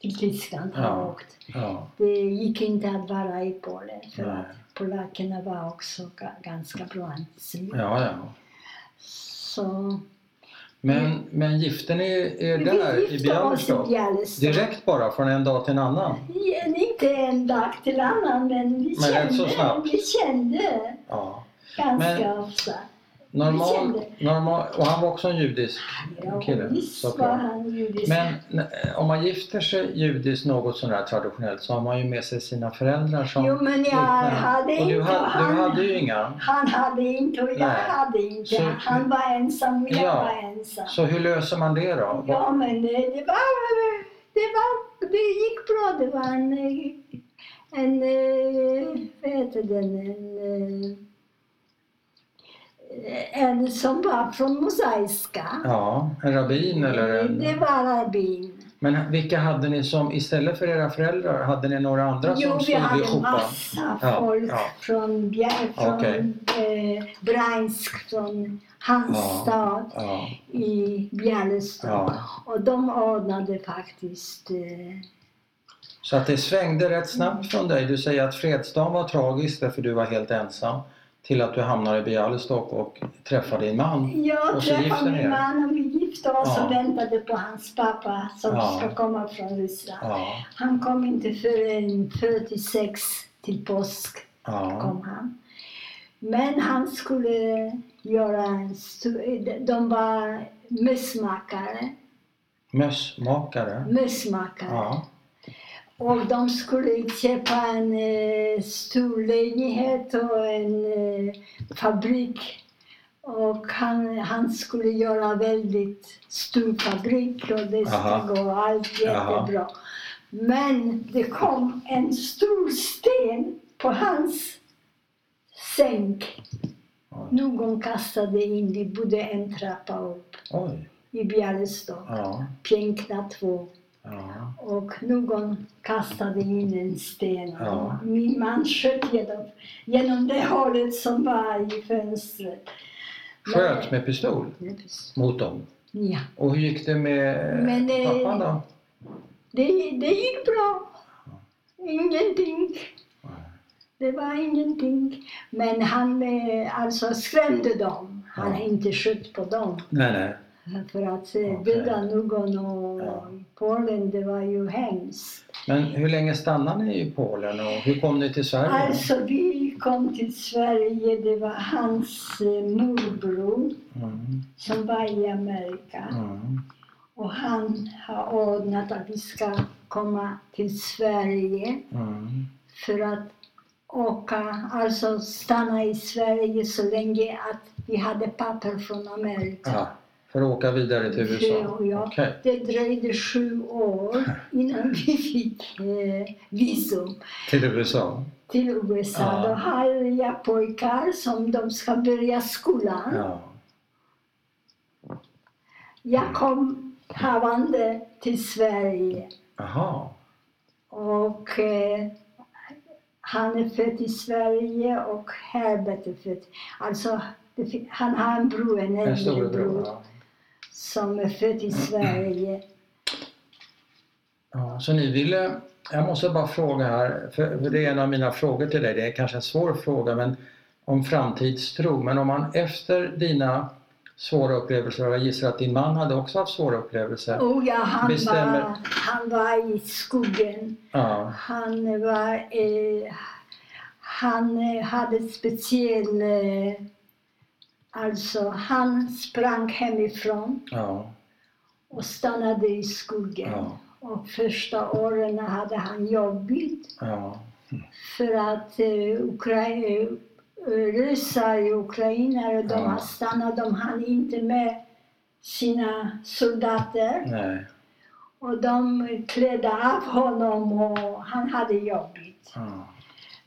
Speaker 1: till Tyskland har
Speaker 2: Ja.
Speaker 1: åkt.
Speaker 2: ja,
Speaker 1: Det gick inte att vara i Polen för
Speaker 2: Nej.
Speaker 1: att polackerna var också ga- ganska bra antisemiter.
Speaker 2: ja, ja.
Speaker 1: Så
Speaker 2: Men, men gifte ni er
Speaker 1: vi
Speaker 2: där i
Speaker 1: gifte oss i
Speaker 2: Bialystok?
Speaker 1: Bialystok.
Speaker 2: Direkt bara, från en dag till en annan?
Speaker 1: Ja, Inte en dag till annan men vi
Speaker 2: Men rätt
Speaker 1: kände,
Speaker 2: så snabbt.
Speaker 1: vi kände
Speaker 2: Ja.
Speaker 1: ganska
Speaker 2: Men-
Speaker 1: ofta.
Speaker 2: Normal, normal, och han var också en judisk
Speaker 1: Ja,
Speaker 2: kille?
Speaker 1: visst var han judisk.
Speaker 2: Men n- om man gifter sig judiskt något sådär traditionellt så har man ju med sig sina föräldrar som
Speaker 1: Jo, men jag
Speaker 2: vittnen.
Speaker 1: hade
Speaker 2: Och du,
Speaker 1: inte
Speaker 2: hade,
Speaker 1: han.
Speaker 2: du hade ju inga.
Speaker 1: Han hade inte och jag
Speaker 2: Nej.
Speaker 1: hade inte.
Speaker 2: Så-
Speaker 1: han var ensam och jag
Speaker 2: Ja.
Speaker 1: var ensam.
Speaker 2: Så hur löser man det då?
Speaker 1: Ja, men det, det var... Det var... Det gick bra. Det var en... eh, En... eh, Vad heter den? En... eh, En som var från Mosaiska.
Speaker 2: Ja, en rabbin eller en...
Speaker 1: Det var rabbin.
Speaker 2: Men vilka hade ni som, istället för era föräldrar, hade ni några andra
Speaker 1: Jo,
Speaker 2: som
Speaker 1: vi
Speaker 2: stod i
Speaker 1: hade
Speaker 2: skjortan?
Speaker 1: massa
Speaker 2: Ja,
Speaker 1: folk
Speaker 2: ja.
Speaker 1: från, Bjär, från
Speaker 2: Okej.
Speaker 1: eh, Bryansk, från Halmstad.
Speaker 2: Ja,
Speaker 1: i Bjärnestad.
Speaker 2: Ja.
Speaker 1: Och de ordnade faktiskt... Eh,
Speaker 2: så att det svängde rätt
Speaker 1: Mm.
Speaker 2: snabbt från dig. Du säger att fredsdagen var tragisk därför du var helt ensam. Till att du hamnade i Bialystok och träffade din man.
Speaker 1: jag
Speaker 2: Och så gifte
Speaker 1: träffade
Speaker 2: ni
Speaker 1: min
Speaker 2: er?
Speaker 1: man och vi gifte oss
Speaker 2: Ja.
Speaker 1: och väntade på hans pappa som
Speaker 2: Ja.
Speaker 1: ska komma från Ryssland.
Speaker 2: Ja,
Speaker 1: Han kom inte förrän 46 till påsk.
Speaker 2: ja,
Speaker 1: kom han. Men han skulle göra en stor... De var mössmakare.
Speaker 2: mössmakare.
Speaker 1: mössmakare.
Speaker 2: Ja,
Speaker 1: Och de skulle köpa en eh, stor lägenhet och en eh, fabrik. Och han, han skulle göra väldigt stor fabrik och det
Speaker 2: Aha.
Speaker 1: skulle gå allt
Speaker 2: Jaha.
Speaker 1: jättebra. Men det kom en stor sten på hans sänk.
Speaker 2: Oj.
Speaker 1: Någon kastade in, det bodde en trappa upp
Speaker 2: oj,
Speaker 1: i Bialystok.
Speaker 2: ja,
Speaker 1: Piękna två.
Speaker 2: ja,
Speaker 1: Och någon kastade in en sten.
Speaker 2: Ja.
Speaker 1: Min man sköt genom, genom det hålet som var i fönstret. Men-
Speaker 2: Sköt med pistol
Speaker 1: Ja, precis.
Speaker 2: mot dem.
Speaker 1: Ja,
Speaker 2: Och hur gick det med
Speaker 1: Men, eh,
Speaker 2: pappan då?
Speaker 1: det, det gick bra. Ingenting.
Speaker 2: Nej.
Speaker 1: Det var ingenting. Men han eh, alltså skrämde dem. Han
Speaker 2: Ja.
Speaker 1: inte sköt på dem.
Speaker 2: Nej, nej.
Speaker 1: För att eh,
Speaker 2: Okej.
Speaker 1: döda någon och
Speaker 2: Ja.
Speaker 1: i Polen, det var ju hemskt.
Speaker 2: Men hur länge stannade ni i Polen och hur kom ni till Sverige?
Speaker 1: Alltså vi kom till Sverige, det var hans eh, morbror
Speaker 2: Mm,
Speaker 1: som var i Amerika.
Speaker 2: mm,
Speaker 1: Och han har ordnat att vi ska komma till Sverige
Speaker 2: mm.
Speaker 1: för att åka, alltså stanna i Sverige så länge att vi hade papper från Amerika.
Speaker 2: Ah, för att åka vidare till USA?
Speaker 1: Ja, ja.
Speaker 2: Okej.
Speaker 1: Det dröjde sju år innan vi fick eh, visum.
Speaker 2: Till USA?
Speaker 1: till USA.
Speaker 2: Ja.
Speaker 1: Då har jag pojkar som de ska börja skolan.
Speaker 2: Ja.
Speaker 1: Jag kom havande till Sverige
Speaker 2: Jaha.
Speaker 1: och eh, han är född i Sverige och Herbert är född. Alltså, det, fi- han har en bror, en
Speaker 2: En
Speaker 1: äldre
Speaker 2: storebror?
Speaker 1: bror,
Speaker 2: Ja.
Speaker 1: som är född i Sverige.
Speaker 2: Ja, så ni ville Jag måste bara fråga här, för för det är en av mina frågor till dig. Det är kanske en svår fråga men om framtidstro. Men om man efter dina svåra upplevelser, och jag gissar att din man hade också haft svåra upplevelser.
Speaker 1: Och ja, han,
Speaker 2: Bestämmer.
Speaker 1: var, han var i skogen.
Speaker 2: Ja,
Speaker 1: Han var... Eh, han eh, hade ett speciell... Eh, alltså, han sprang hemifrån
Speaker 2: ja,
Speaker 1: och stannade i skogen.
Speaker 2: ja,
Speaker 1: Och första åren hade han jobbigt
Speaker 2: ja,
Speaker 1: för att eh, Ukra- eh, ryssar och ukrainare, de
Speaker 2: Ja.
Speaker 1: har stannat, de hann inte med sina soldater.
Speaker 2: nej,
Speaker 1: Och de klädde av honom och han hade jobbigt.
Speaker 2: ja,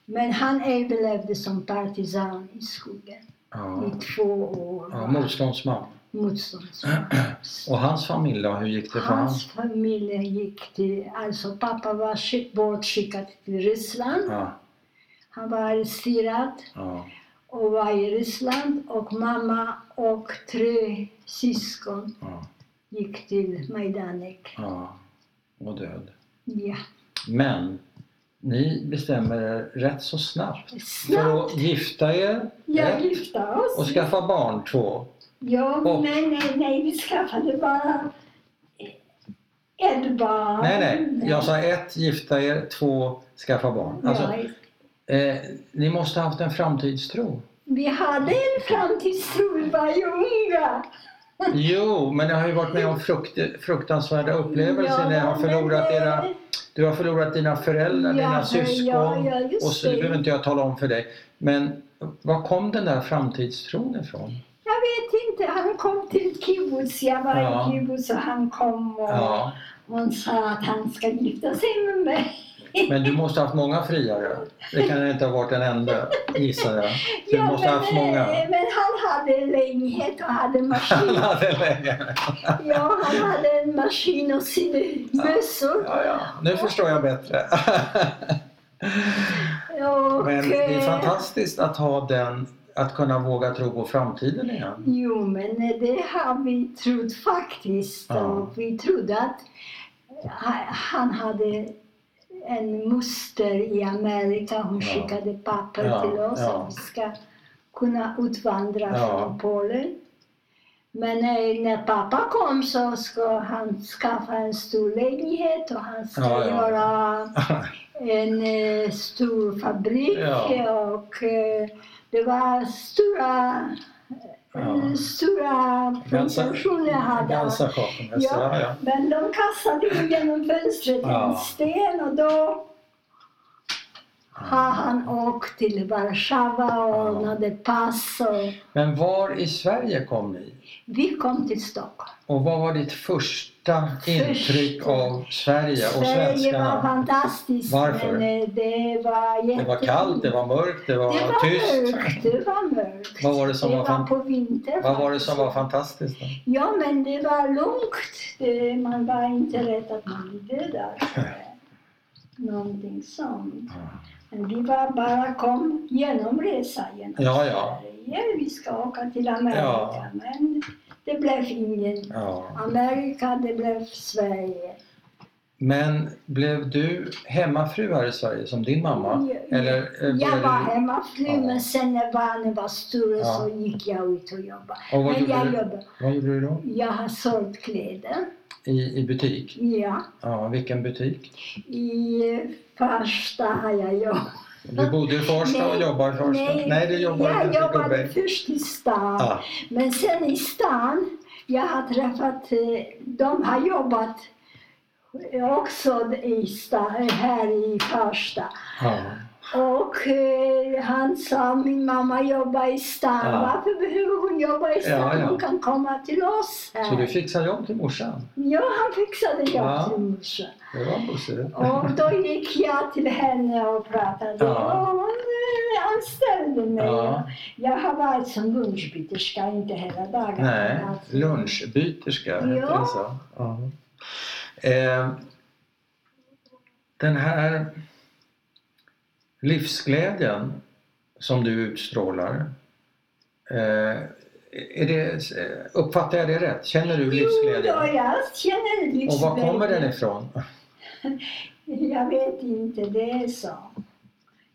Speaker 1: Men han överlevde som partisan i skogen
Speaker 2: ja.
Speaker 1: i två år.
Speaker 2: ja motståndsman.
Speaker 1: Motståndsman.
Speaker 2: Och hans familj då, hur gick det för honom?
Speaker 1: Hans familj gick till... Alltså pappa var skick- bortskickad till Ryssland.
Speaker 2: Ja,
Speaker 1: Han var arresterad
Speaker 2: ja,
Speaker 1: och var i Ryssland och mamma och tre syskon
Speaker 2: ja,
Speaker 1: gick till Majdanek.
Speaker 2: ja. Och död.
Speaker 1: Ja.
Speaker 2: Men ni bestämmer er rätt så snabbt för
Speaker 1: Snabbt!
Speaker 2: att gifta er
Speaker 1: Jag
Speaker 2: rätt
Speaker 1: gifte
Speaker 2: och
Speaker 1: oss.
Speaker 2: skaffa barn två.
Speaker 1: Ja,
Speaker 2: och-
Speaker 1: men nej, nej, vi skaffade bara ett barn.
Speaker 2: Nej, nej. Jag sa ett, gifta er, två, skaffa barn. Alltså,
Speaker 1: ja,
Speaker 2: eh, ni måste ha haft en framtidstro.
Speaker 1: vi hade en framtidstro, vi var ju unga.
Speaker 2: Jo, men jag har ju varit med om frukt, fruktansvärda upplevelser när jag har
Speaker 1: men-
Speaker 2: förlorat era Du har förlorat dina föräldrar,
Speaker 1: Ja,
Speaker 2: dina
Speaker 1: ja,
Speaker 2: syskon.
Speaker 1: ja, just
Speaker 2: och så, det
Speaker 1: det.
Speaker 2: behöver inte jag tala om för dig. Men var kom den där framtidstron ifrån?
Speaker 1: Jag vet inte, han kom till kibbutz, jag var
Speaker 2: Ja.
Speaker 1: i kibbutz och han kom och
Speaker 2: Ja.
Speaker 1: hon sa att han ska gifta sig med mig.
Speaker 2: Men du måste ha haft många friare. Det kan inte ha varit en enda, gissar jag. Du
Speaker 1: Ja,
Speaker 2: måste ha haft
Speaker 1: men,
Speaker 2: många.
Speaker 1: eh, men han hade lägenhet och hade
Speaker 2: Han
Speaker 1: maskin.
Speaker 2: hade läge.
Speaker 1: ja, han hade en maskin och sina mössor.
Speaker 2: Ja, ja. Nu förstår jag bättre.
Speaker 1: Och,
Speaker 2: Men det är
Speaker 1: eh,
Speaker 2: fantastiskt att ha den, att kunna våga tro på framtiden igen.
Speaker 1: Jo, men eh, det har vi trott faktiskt.
Speaker 2: Ja.
Speaker 1: Och vi trodde att ha- han hade en moster i Amerika. Hon
Speaker 2: Ja.
Speaker 1: skickade papper
Speaker 2: Ja,
Speaker 1: till oss
Speaker 2: ja.
Speaker 1: att vi ska kunna utvandra
Speaker 2: Ja.
Speaker 1: från Polen. Men eh, när pappa kom så ska han skaffa en stor lägenhet och han ska
Speaker 2: Ja, ja.
Speaker 1: göra en eh, stor fabrik
Speaker 2: Ja.
Speaker 1: och eh, det var stora,
Speaker 2: Ja.
Speaker 1: Mm, stora produktioner hade han.
Speaker 2: Ganska chocken.
Speaker 1: Ja.
Speaker 2: Ja, ja.
Speaker 1: Men de kastade in genom fönstret
Speaker 2: Ja.
Speaker 1: en sten och då har han åkt till Warszawa och
Speaker 2: Ja.
Speaker 1: ordnade pass. Och
Speaker 2: Men var i Sverige kom ni?
Speaker 1: vi kom till Stockholm.
Speaker 2: Och vad var ditt första intryck
Speaker 1: Första.
Speaker 2: av Sverige och
Speaker 1: Sverige var
Speaker 2: svenskarna?
Speaker 1: fantastiskt.
Speaker 2: Varför?
Speaker 1: Men eh, det var
Speaker 2: Det
Speaker 1: jättefint.
Speaker 2: var kallt, det var mörkt, det var,
Speaker 1: Det var
Speaker 2: tyst.
Speaker 1: mörkt, det var mörkt.
Speaker 2: Vad var det som var fan-
Speaker 1: på vinter.
Speaker 2: Vad var det som var
Speaker 1: faktiskt.
Speaker 2: fantastiskt? Då?
Speaker 1: Ja, men det var lugnt. Det, man var inte rädd att man blev dödad. Någonting sånt. Men vi var bara kom genom resa genom
Speaker 2: Ja, ja.
Speaker 1: Sverige. Vi ska åka till Amerika.
Speaker 2: Ja.
Speaker 1: Men det blev ingen
Speaker 2: Ja.
Speaker 1: Amerika, det blev Sverige.
Speaker 2: Men blev du hemmafru här i Sverige som din mamma?
Speaker 1: Jag-
Speaker 2: Eller eh, blev
Speaker 1: Jag var
Speaker 2: du...
Speaker 1: hemmafru,
Speaker 2: Ja.
Speaker 1: men sen när barnen var stora
Speaker 2: Ja.
Speaker 1: så gick jag ut och jobbade.
Speaker 2: Och vad
Speaker 1: Men
Speaker 2: gjorde
Speaker 1: jag
Speaker 2: du?
Speaker 1: jobbade.
Speaker 2: Vad gjorde du då?
Speaker 1: Jag har sålt kläder.
Speaker 2: I, I butik?
Speaker 1: Ja.
Speaker 2: Ja, vilken butik?
Speaker 1: I Farsta har jag jobbat.
Speaker 2: Du bodde i Farsta och
Speaker 1: Nej,
Speaker 2: jobbar i Farsta? Nej, du jobbar
Speaker 1: jag
Speaker 2: i
Speaker 1: jobbade
Speaker 2: Gullberg.
Speaker 1: först i stan.
Speaker 2: Ah,
Speaker 1: Men sen i stan, jag har träffat, eh, de har jobbat också i stan, här i Farsta.
Speaker 2: ja.
Speaker 1: Och eh, han sa, min mamma jobbar i stan,
Speaker 2: Ja.
Speaker 1: varför behöver hon jobba i stan?
Speaker 2: Ja, ja.
Speaker 1: Hon kan komma till oss
Speaker 2: Så du
Speaker 1: här.
Speaker 2: fixade jobb till morsan?
Speaker 1: Ja, han fixade jobb
Speaker 2: Ja.
Speaker 1: till morsan.
Speaker 2: Det var bussigt.
Speaker 1: Och då gick jag till henne och pratade
Speaker 2: Ja.
Speaker 1: och hon eh, anställde mig.
Speaker 2: Ja.
Speaker 1: Jag har varit som lunchbiterska, inte hela dagen.
Speaker 2: Nej,
Speaker 1: Alltså,
Speaker 2: lunchbyterska heter
Speaker 1: Ja.
Speaker 2: det så. Ja. Eh, den här livsglädjen som du utstrålar. Eh, är det, uppfattar jag det rätt? Känner du
Speaker 1: Jo, då
Speaker 2: livsglädje?
Speaker 1: jag känner livsglädje.
Speaker 2: Och var kommer den ifrån?
Speaker 1: Jag vet inte, det är så.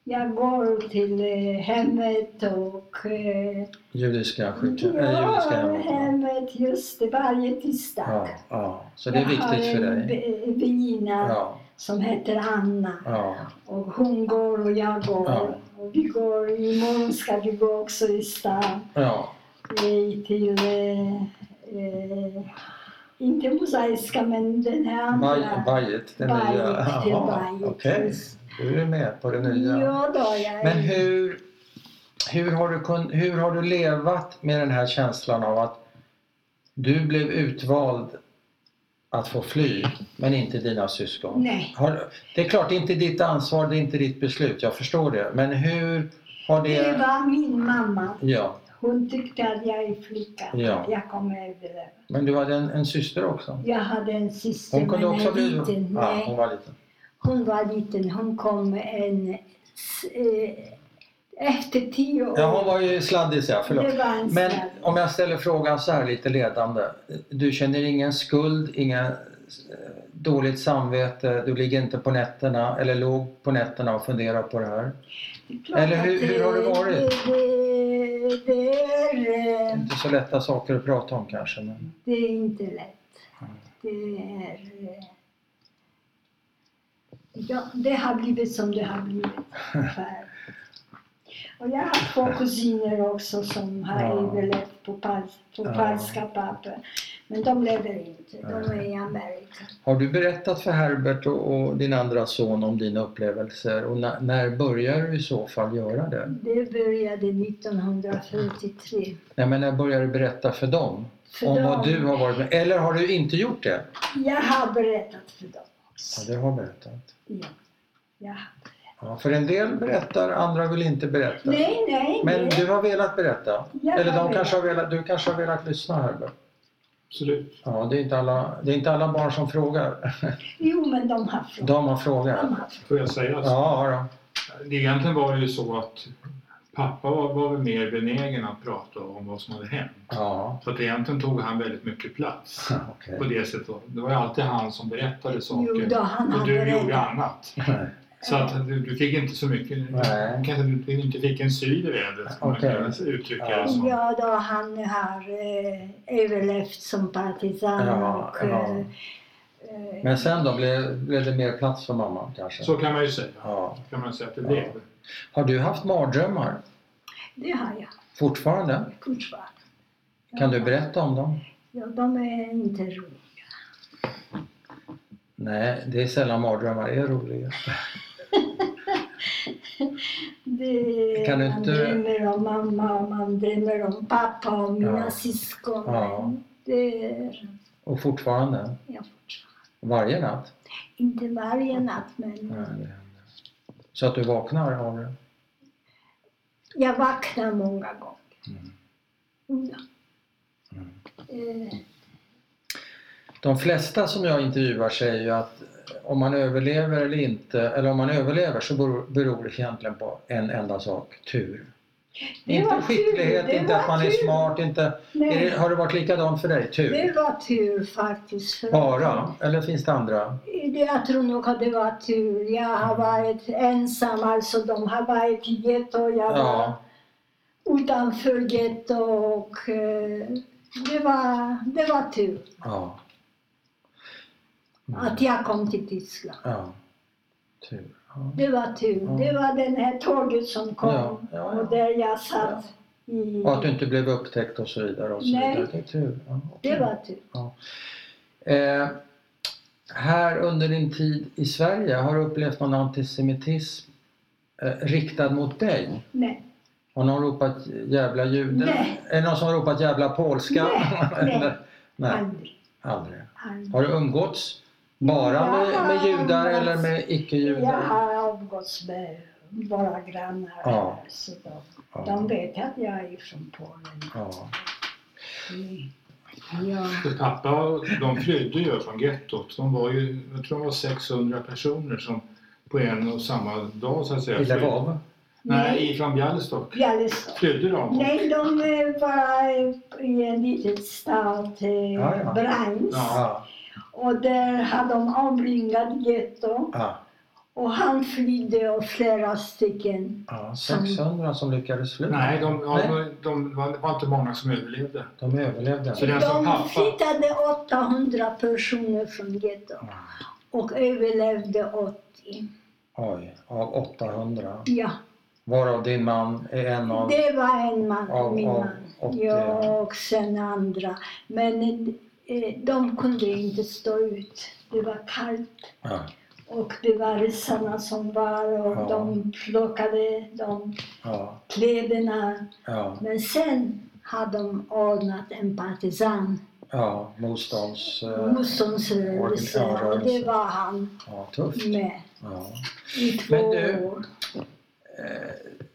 Speaker 1: Jag går till eh, hemmet och... eh,
Speaker 2: Judiska sjukhuset? Ja, judiska
Speaker 1: Ja,
Speaker 2: hemmet. ja.
Speaker 1: hemmet, just det, varje tisdag.
Speaker 2: Ja, ja. Så det är viktigt för
Speaker 1: Jag har en
Speaker 2: dig?
Speaker 1: ve- väninna
Speaker 2: Ja,
Speaker 1: som heter Anna.
Speaker 2: ja,
Speaker 1: Och hon går och jag går.
Speaker 2: Ja.
Speaker 1: Och vi går, imorgon ska vi gå också i stan.
Speaker 2: ja,
Speaker 1: eh, till, eh, eh, inte mosaiska men den här
Speaker 2: Baj-
Speaker 1: andra.
Speaker 2: Bajet, det
Speaker 1: Bajet,
Speaker 2: nya.
Speaker 1: till
Speaker 2: Jaha,
Speaker 1: Bajet.
Speaker 2: okej. Du är med på det nya.
Speaker 1: Ja, då, jag,
Speaker 2: Men hur, hur, har du kun, hur har du levat med den här känslan av att du blev utvald att få fly, men inte dina syskon?
Speaker 1: Nej.
Speaker 2: Har, det är klart, det är inte ditt ansvar, det är inte ditt beslut, jag förstår det. Men hur har det...
Speaker 1: Det var min mamma.
Speaker 2: Ja,
Speaker 1: Hon tyckte att jag är flicka.
Speaker 2: Ja.
Speaker 1: Jag kommer överleva.
Speaker 2: men du hade en, en syster också?
Speaker 1: Jag hade en syster,
Speaker 2: Hon kunde
Speaker 1: men
Speaker 2: också
Speaker 1: en
Speaker 2: bli...
Speaker 1: liten.
Speaker 2: Ja,
Speaker 1: Nej,
Speaker 2: hon var liten.
Speaker 1: hon var liten. Hon kom en, s- eh, efter tio år.
Speaker 2: Ja, hon var ju sladdis, ja, förlåt.
Speaker 1: Det var en
Speaker 2: Men
Speaker 1: snabb.
Speaker 2: om jag ställer frågan så här lite ledande. Du känner ingen skuld, ingen eh, dåligt samvete, du ligger inte på nätterna eller låg på nätterna och funderar på det här?
Speaker 1: Det är klart
Speaker 2: eller hur-
Speaker 1: att
Speaker 2: hur har det varit?
Speaker 1: Det, det, det, är, eh,
Speaker 2: Inte så lätta saker att prata om kanske. Men...
Speaker 1: det är inte lätt. Det är... eh, Ja, det har blivit som det har blivit. ungefär. Och jag har två kusiner också som har
Speaker 2: Ja.
Speaker 1: överlevt på, pals, på
Speaker 2: Ja.
Speaker 1: falska papper. Men de lever inte, de är
Speaker 2: Nej.
Speaker 1: i Amerika.
Speaker 2: Har du berättat för Herbert och, och din andra son om dina upplevelser och när, när börjar du i så fall göra det?
Speaker 1: Det började 1943.
Speaker 2: Nej, men när börjar du berätta för dem?
Speaker 1: För
Speaker 2: om
Speaker 1: dem,
Speaker 2: vad du har varit med Eller har du inte gjort det?
Speaker 1: Jag har berättat för dem också.
Speaker 2: Ja, du har berättat.
Speaker 1: Ja. Ja.
Speaker 2: Ja, för en del berättar, andra vill inte berätta.
Speaker 1: Nej, nej,
Speaker 2: Men
Speaker 1: nej.
Speaker 2: du har velat berätta?
Speaker 1: Jag
Speaker 2: Eller
Speaker 1: har
Speaker 2: de
Speaker 1: velat.
Speaker 2: kanske har velat, du kanske har velat lyssna Herbert?
Speaker 3: Absolut.
Speaker 2: Ja, det är inte alla, det är inte alla barn som frågar.
Speaker 1: Jo, men de har frågat.
Speaker 2: De har
Speaker 1: De
Speaker 2: frågat.
Speaker 1: har frågat.
Speaker 3: Får jag säga? så?
Speaker 2: Ja, ja.
Speaker 3: Det egentligen var det ju så att pappa var, var väl mer benägen att prata om vad som hade hänt.
Speaker 2: ja.
Speaker 3: Så att egentligen tog han väldigt mycket plats.
Speaker 2: Okej.
Speaker 3: På det sättet. Det var ju alltid han som berättade saker.
Speaker 1: Jo, då, han
Speaker 3: och
Speaker 1: har
Speaker 3: du gjorde
Speaker 1: berättat.
Speaker 3: annat. Så att du, du fick inte så mycket,
Speaker 2: Nej.
Speaker 3: kanske du inte fick en syl i vädret som
Speaker 2: Okej.
Speaker 3: man kan uttrycka
Speaker 2: Ja.
Speaker 3: det som.
Speaker 1: Ja, då han har eh, överlevt som partisan
Speaker 2: Ja,
Speaker 1: och...
Speaker 2: ja.
Speaker 1: Eh, eh,
Speaker 2: Men sen då, blev, blev det mer plats för mamma kanske?
Speaker 3: Så kan man ju säga.
Speaker 2: Ja.
Speaker 3: Kan man säga att det
Speaker 2: Ja.
Speaker 3: blev.
Speaker 2: Har du haft mardrömmar
Speaker 1: det har jag
Speaker 2: fortfarande?
Speaker 1: fortfarande.
Speaker 2: Kan du
Speaker 1: Ja.
Speaker 2: berätta om dem?
Speaker 1: Ja, de är inte roliga.
Speaker 2: Nej, det är sällan mardrömmar är roliga.
Speaker 1: Det,
Speaker 2: Kan du
Speaker 1: man
Speaker 2: inte-
Speaker 1: drömmer om mamma och man drömmer om pappa och mina
Speaker 2: Ja.
Speaker 1: syskon.
Speaker 2: Ja.
Speaker 1: Det är
Speaker 2: Och fortfarande?
Speaker 1: jag fortfarande.
Speaker 2: Varje natt?
Speaker 1: Inte varje natt, men
Speaker 2: Nej, det händer. Så att du vaknar av det?
Speaker 1: jag vaknar många gånger.
Speaker 2: Mm.
Speaker 1: Ja.
Speaker 2: Mm.
Speaker 1: Eh,
Speaker 2: De flesta som jag intervjuar säger ju att om man överlever eller inte, eller om man överlever så beror, beror det egentligen på en enda sak, tur.
Speaker 1: Det var
Speaker 2: inte
Speaker 1: tur,
Speaker 2: skicklighet,
Speaker 1: det
Speaker 2: inte att
Speaker 1: var
Speaker 2: man är
Speaker 1: tur.
Speaker 2: smart, inte...
Speaker 1: nej.
Speaker 2: Är det, har det varit likadant för dig? Tur?
Speaker 1: Det var tur faktiskt. För
Speaker 2: Bara? Eller finns det andra?
Speaker 1: Jag tror nog att det var tur. Jag
Speaker 2: Mm.
Speaker 1: har varit ensam, alltså de har varit i getto. Jag var
Speaker 2: Ja.
Speaker 1: utanför getto och eh, det var, det var tur
Speaker 2: Ja. Mm.
Speaker 1: att jag kom till Tyskland.
Speaker 2: ja. Tur. Ja.
Speaker 1: Det var tur.
Speaker 2: Ja.
Speaker 1: Det var den här tåget som kom
Speaker 2: Ja, ja, ja.
Speaker 1: och där jag satt. I,
Speaker 2: Och att du inte blev upptäckt och så vidare. Och så
Speaker 1: Nej.
Speaker 2: vidare. Det är tur. Ja, okej.
Speaker 1: Det var tur.
Speaker 2: Eh, här under din tid i Sverige, har du upplevt någon antisemitism eh, riktad mot dig?
Speaker 1: Nej.
Speaker 2: Har någon ropat jävla jude?
Speaker 1: Nej.
Speaker 2: Är det någon som har ropat jävla polska?
Speaker 1: Nej, nej.
Speaker 2: Eller- Nej,
Speaker 1: Aldrig.
Speaker 2: aldrig.
Speaker 1: aldrig.
Speaker 2: Har du umgåtts bara
Speaker 1: Jag
Speaker 2: med, med
Speaker 1: har
Speaker 2: judar
Speaker 1: umgåtts.
Speaker 2: eller med
Speaker 1: Jag
Speaker 2: icke-judar?
Speaker 1: har umgåtts med våra grannar.
Speaker 2: Ja.
Speaker 1: här, Så de, de
Speaker 2: Ja.
Speaker 1: vet att jag är från Polen.
Speaker 2: Ja.
Speaker 1: Mm. Ja.
Speaker 3: För Pappa, de flydde ju från gettot. De var ju, jag tror de var 600 personer som på en och samma dag så att säga.
Speaker 2: I
Speaker 3: flydde.
Speaker 2: Lvov?
Speaker 3: Nej, ifrån Bialystok.
Speaker 1: Bialystok.
Speaker 3: Flydde de?
Speaker 1: Nej, de eh, var i en liten stad, eh,
Speaker 2: Ja, ja.
Speaker 1: Brans.
Speaker 3: Ja.
Speaker 2: Ja.
Speaker 1: Och där har de omringat getto.
Speaker 2: Ja.
Speaker 1: Och han flydde och flera stycken.
Speaker 2: Ja, 600 som lyckades fly.
Speaker 3: Nej, de, ja,
Speaker 2: Nej,
Speaker 3: de, de var, det var inte många som överlevde.
Speaker 2: de överlevde.
Speaker 3: Så det är alltså pappa?
Speaker 1: De flyttade 800 personer från gettot och överlevde 80.
Speaker 2: Oj, av 800.
Speaker 1: Ja,
Speaker 2: Varav din man är en av...
Speaker 1: det var en man,
Speaker 2: av-
Speaker 1: min
Speaker 2: av
Speaker 1: man.
Speaker 2: 80, ja.
Speaker 1: Ja, och sen andra. Men eh, de kunde inte stå ut. Det var kallt.
Speaker 2: Ja,
Speaker 1: Och det var ryssarna som var och
Speaker 2: Ja.
Speaker 1: de plockade de
Speaker 2: ja,
Speaker 1: kläderna.
Speaker 2: ja,
Speaker 1: Men sen har de ordnat en partisan,
Speaker 2: ja. Motstånds... eh,
Speaker 1: motståndsrörelse,
Speaker 2: organ- ja,
Speaker 1: och det
Speaker 2: rörelse.
Speaker 1: var han
Speaker 2: Ja, tufft.
Speaker 1: med
Speaker 2: Ja.
Speaker 1: i två
Speaker 2: Men du-
Speaker 1: år.
Speaker 2: Eh,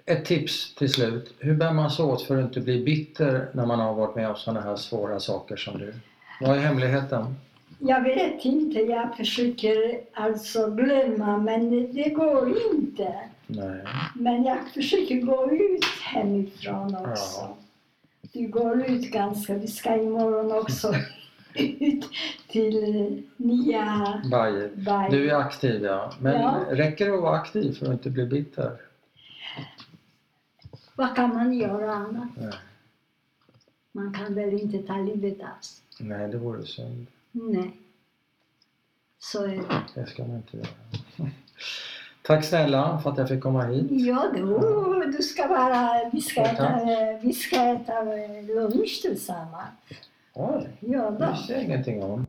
Speaker 2: Ett tips till slut. Hur bär man sig åt för att inte bli bitter när man har varit med om sådana här svåra saker som du? Vad är hemligheten?
Speaker 1: Jag vet inte, jag försöker alltså glömma men det- det går inte.
Speaker 2: Nej.
Speaker 1: Men jag försöker gå ut hemifrån också.
Speaker 2: Ja.
Speaker 1: Vi går ut ganska, vi ska imorgon också ut till eh, nya
Speaker 2: Bajer.
Speaker 1: Bye.
Speaker 2: Du är aktiv ja. Men
Speaker 1: Ja.
Speaker 2: räcker det att vara aktiv för att inte bli bitter?
Speaker 1: Vad kan man göra annat?
Speaker 2: Nej.
Speaker 1: Man kan väl inte ta livet av sig?
Speaker 2: Nej, det vore synd.
Speaker 1: Nej. Så är det.
Speaker 2: Det ska man inte göra. Tack snälla för att jag fick komma hit.
Speaker 1: Ja, då, du ska vara... Vi ska
Speaker 2: Tack.
Speaker 1: äta, eh, vi ska äta eh, lunch tillsammans.
Speaker 2: Oj,
Speaker 1: Ja,
Speaker 2: det
Speaker 1: då. no.
Speaker 2: visste jag ingenting om.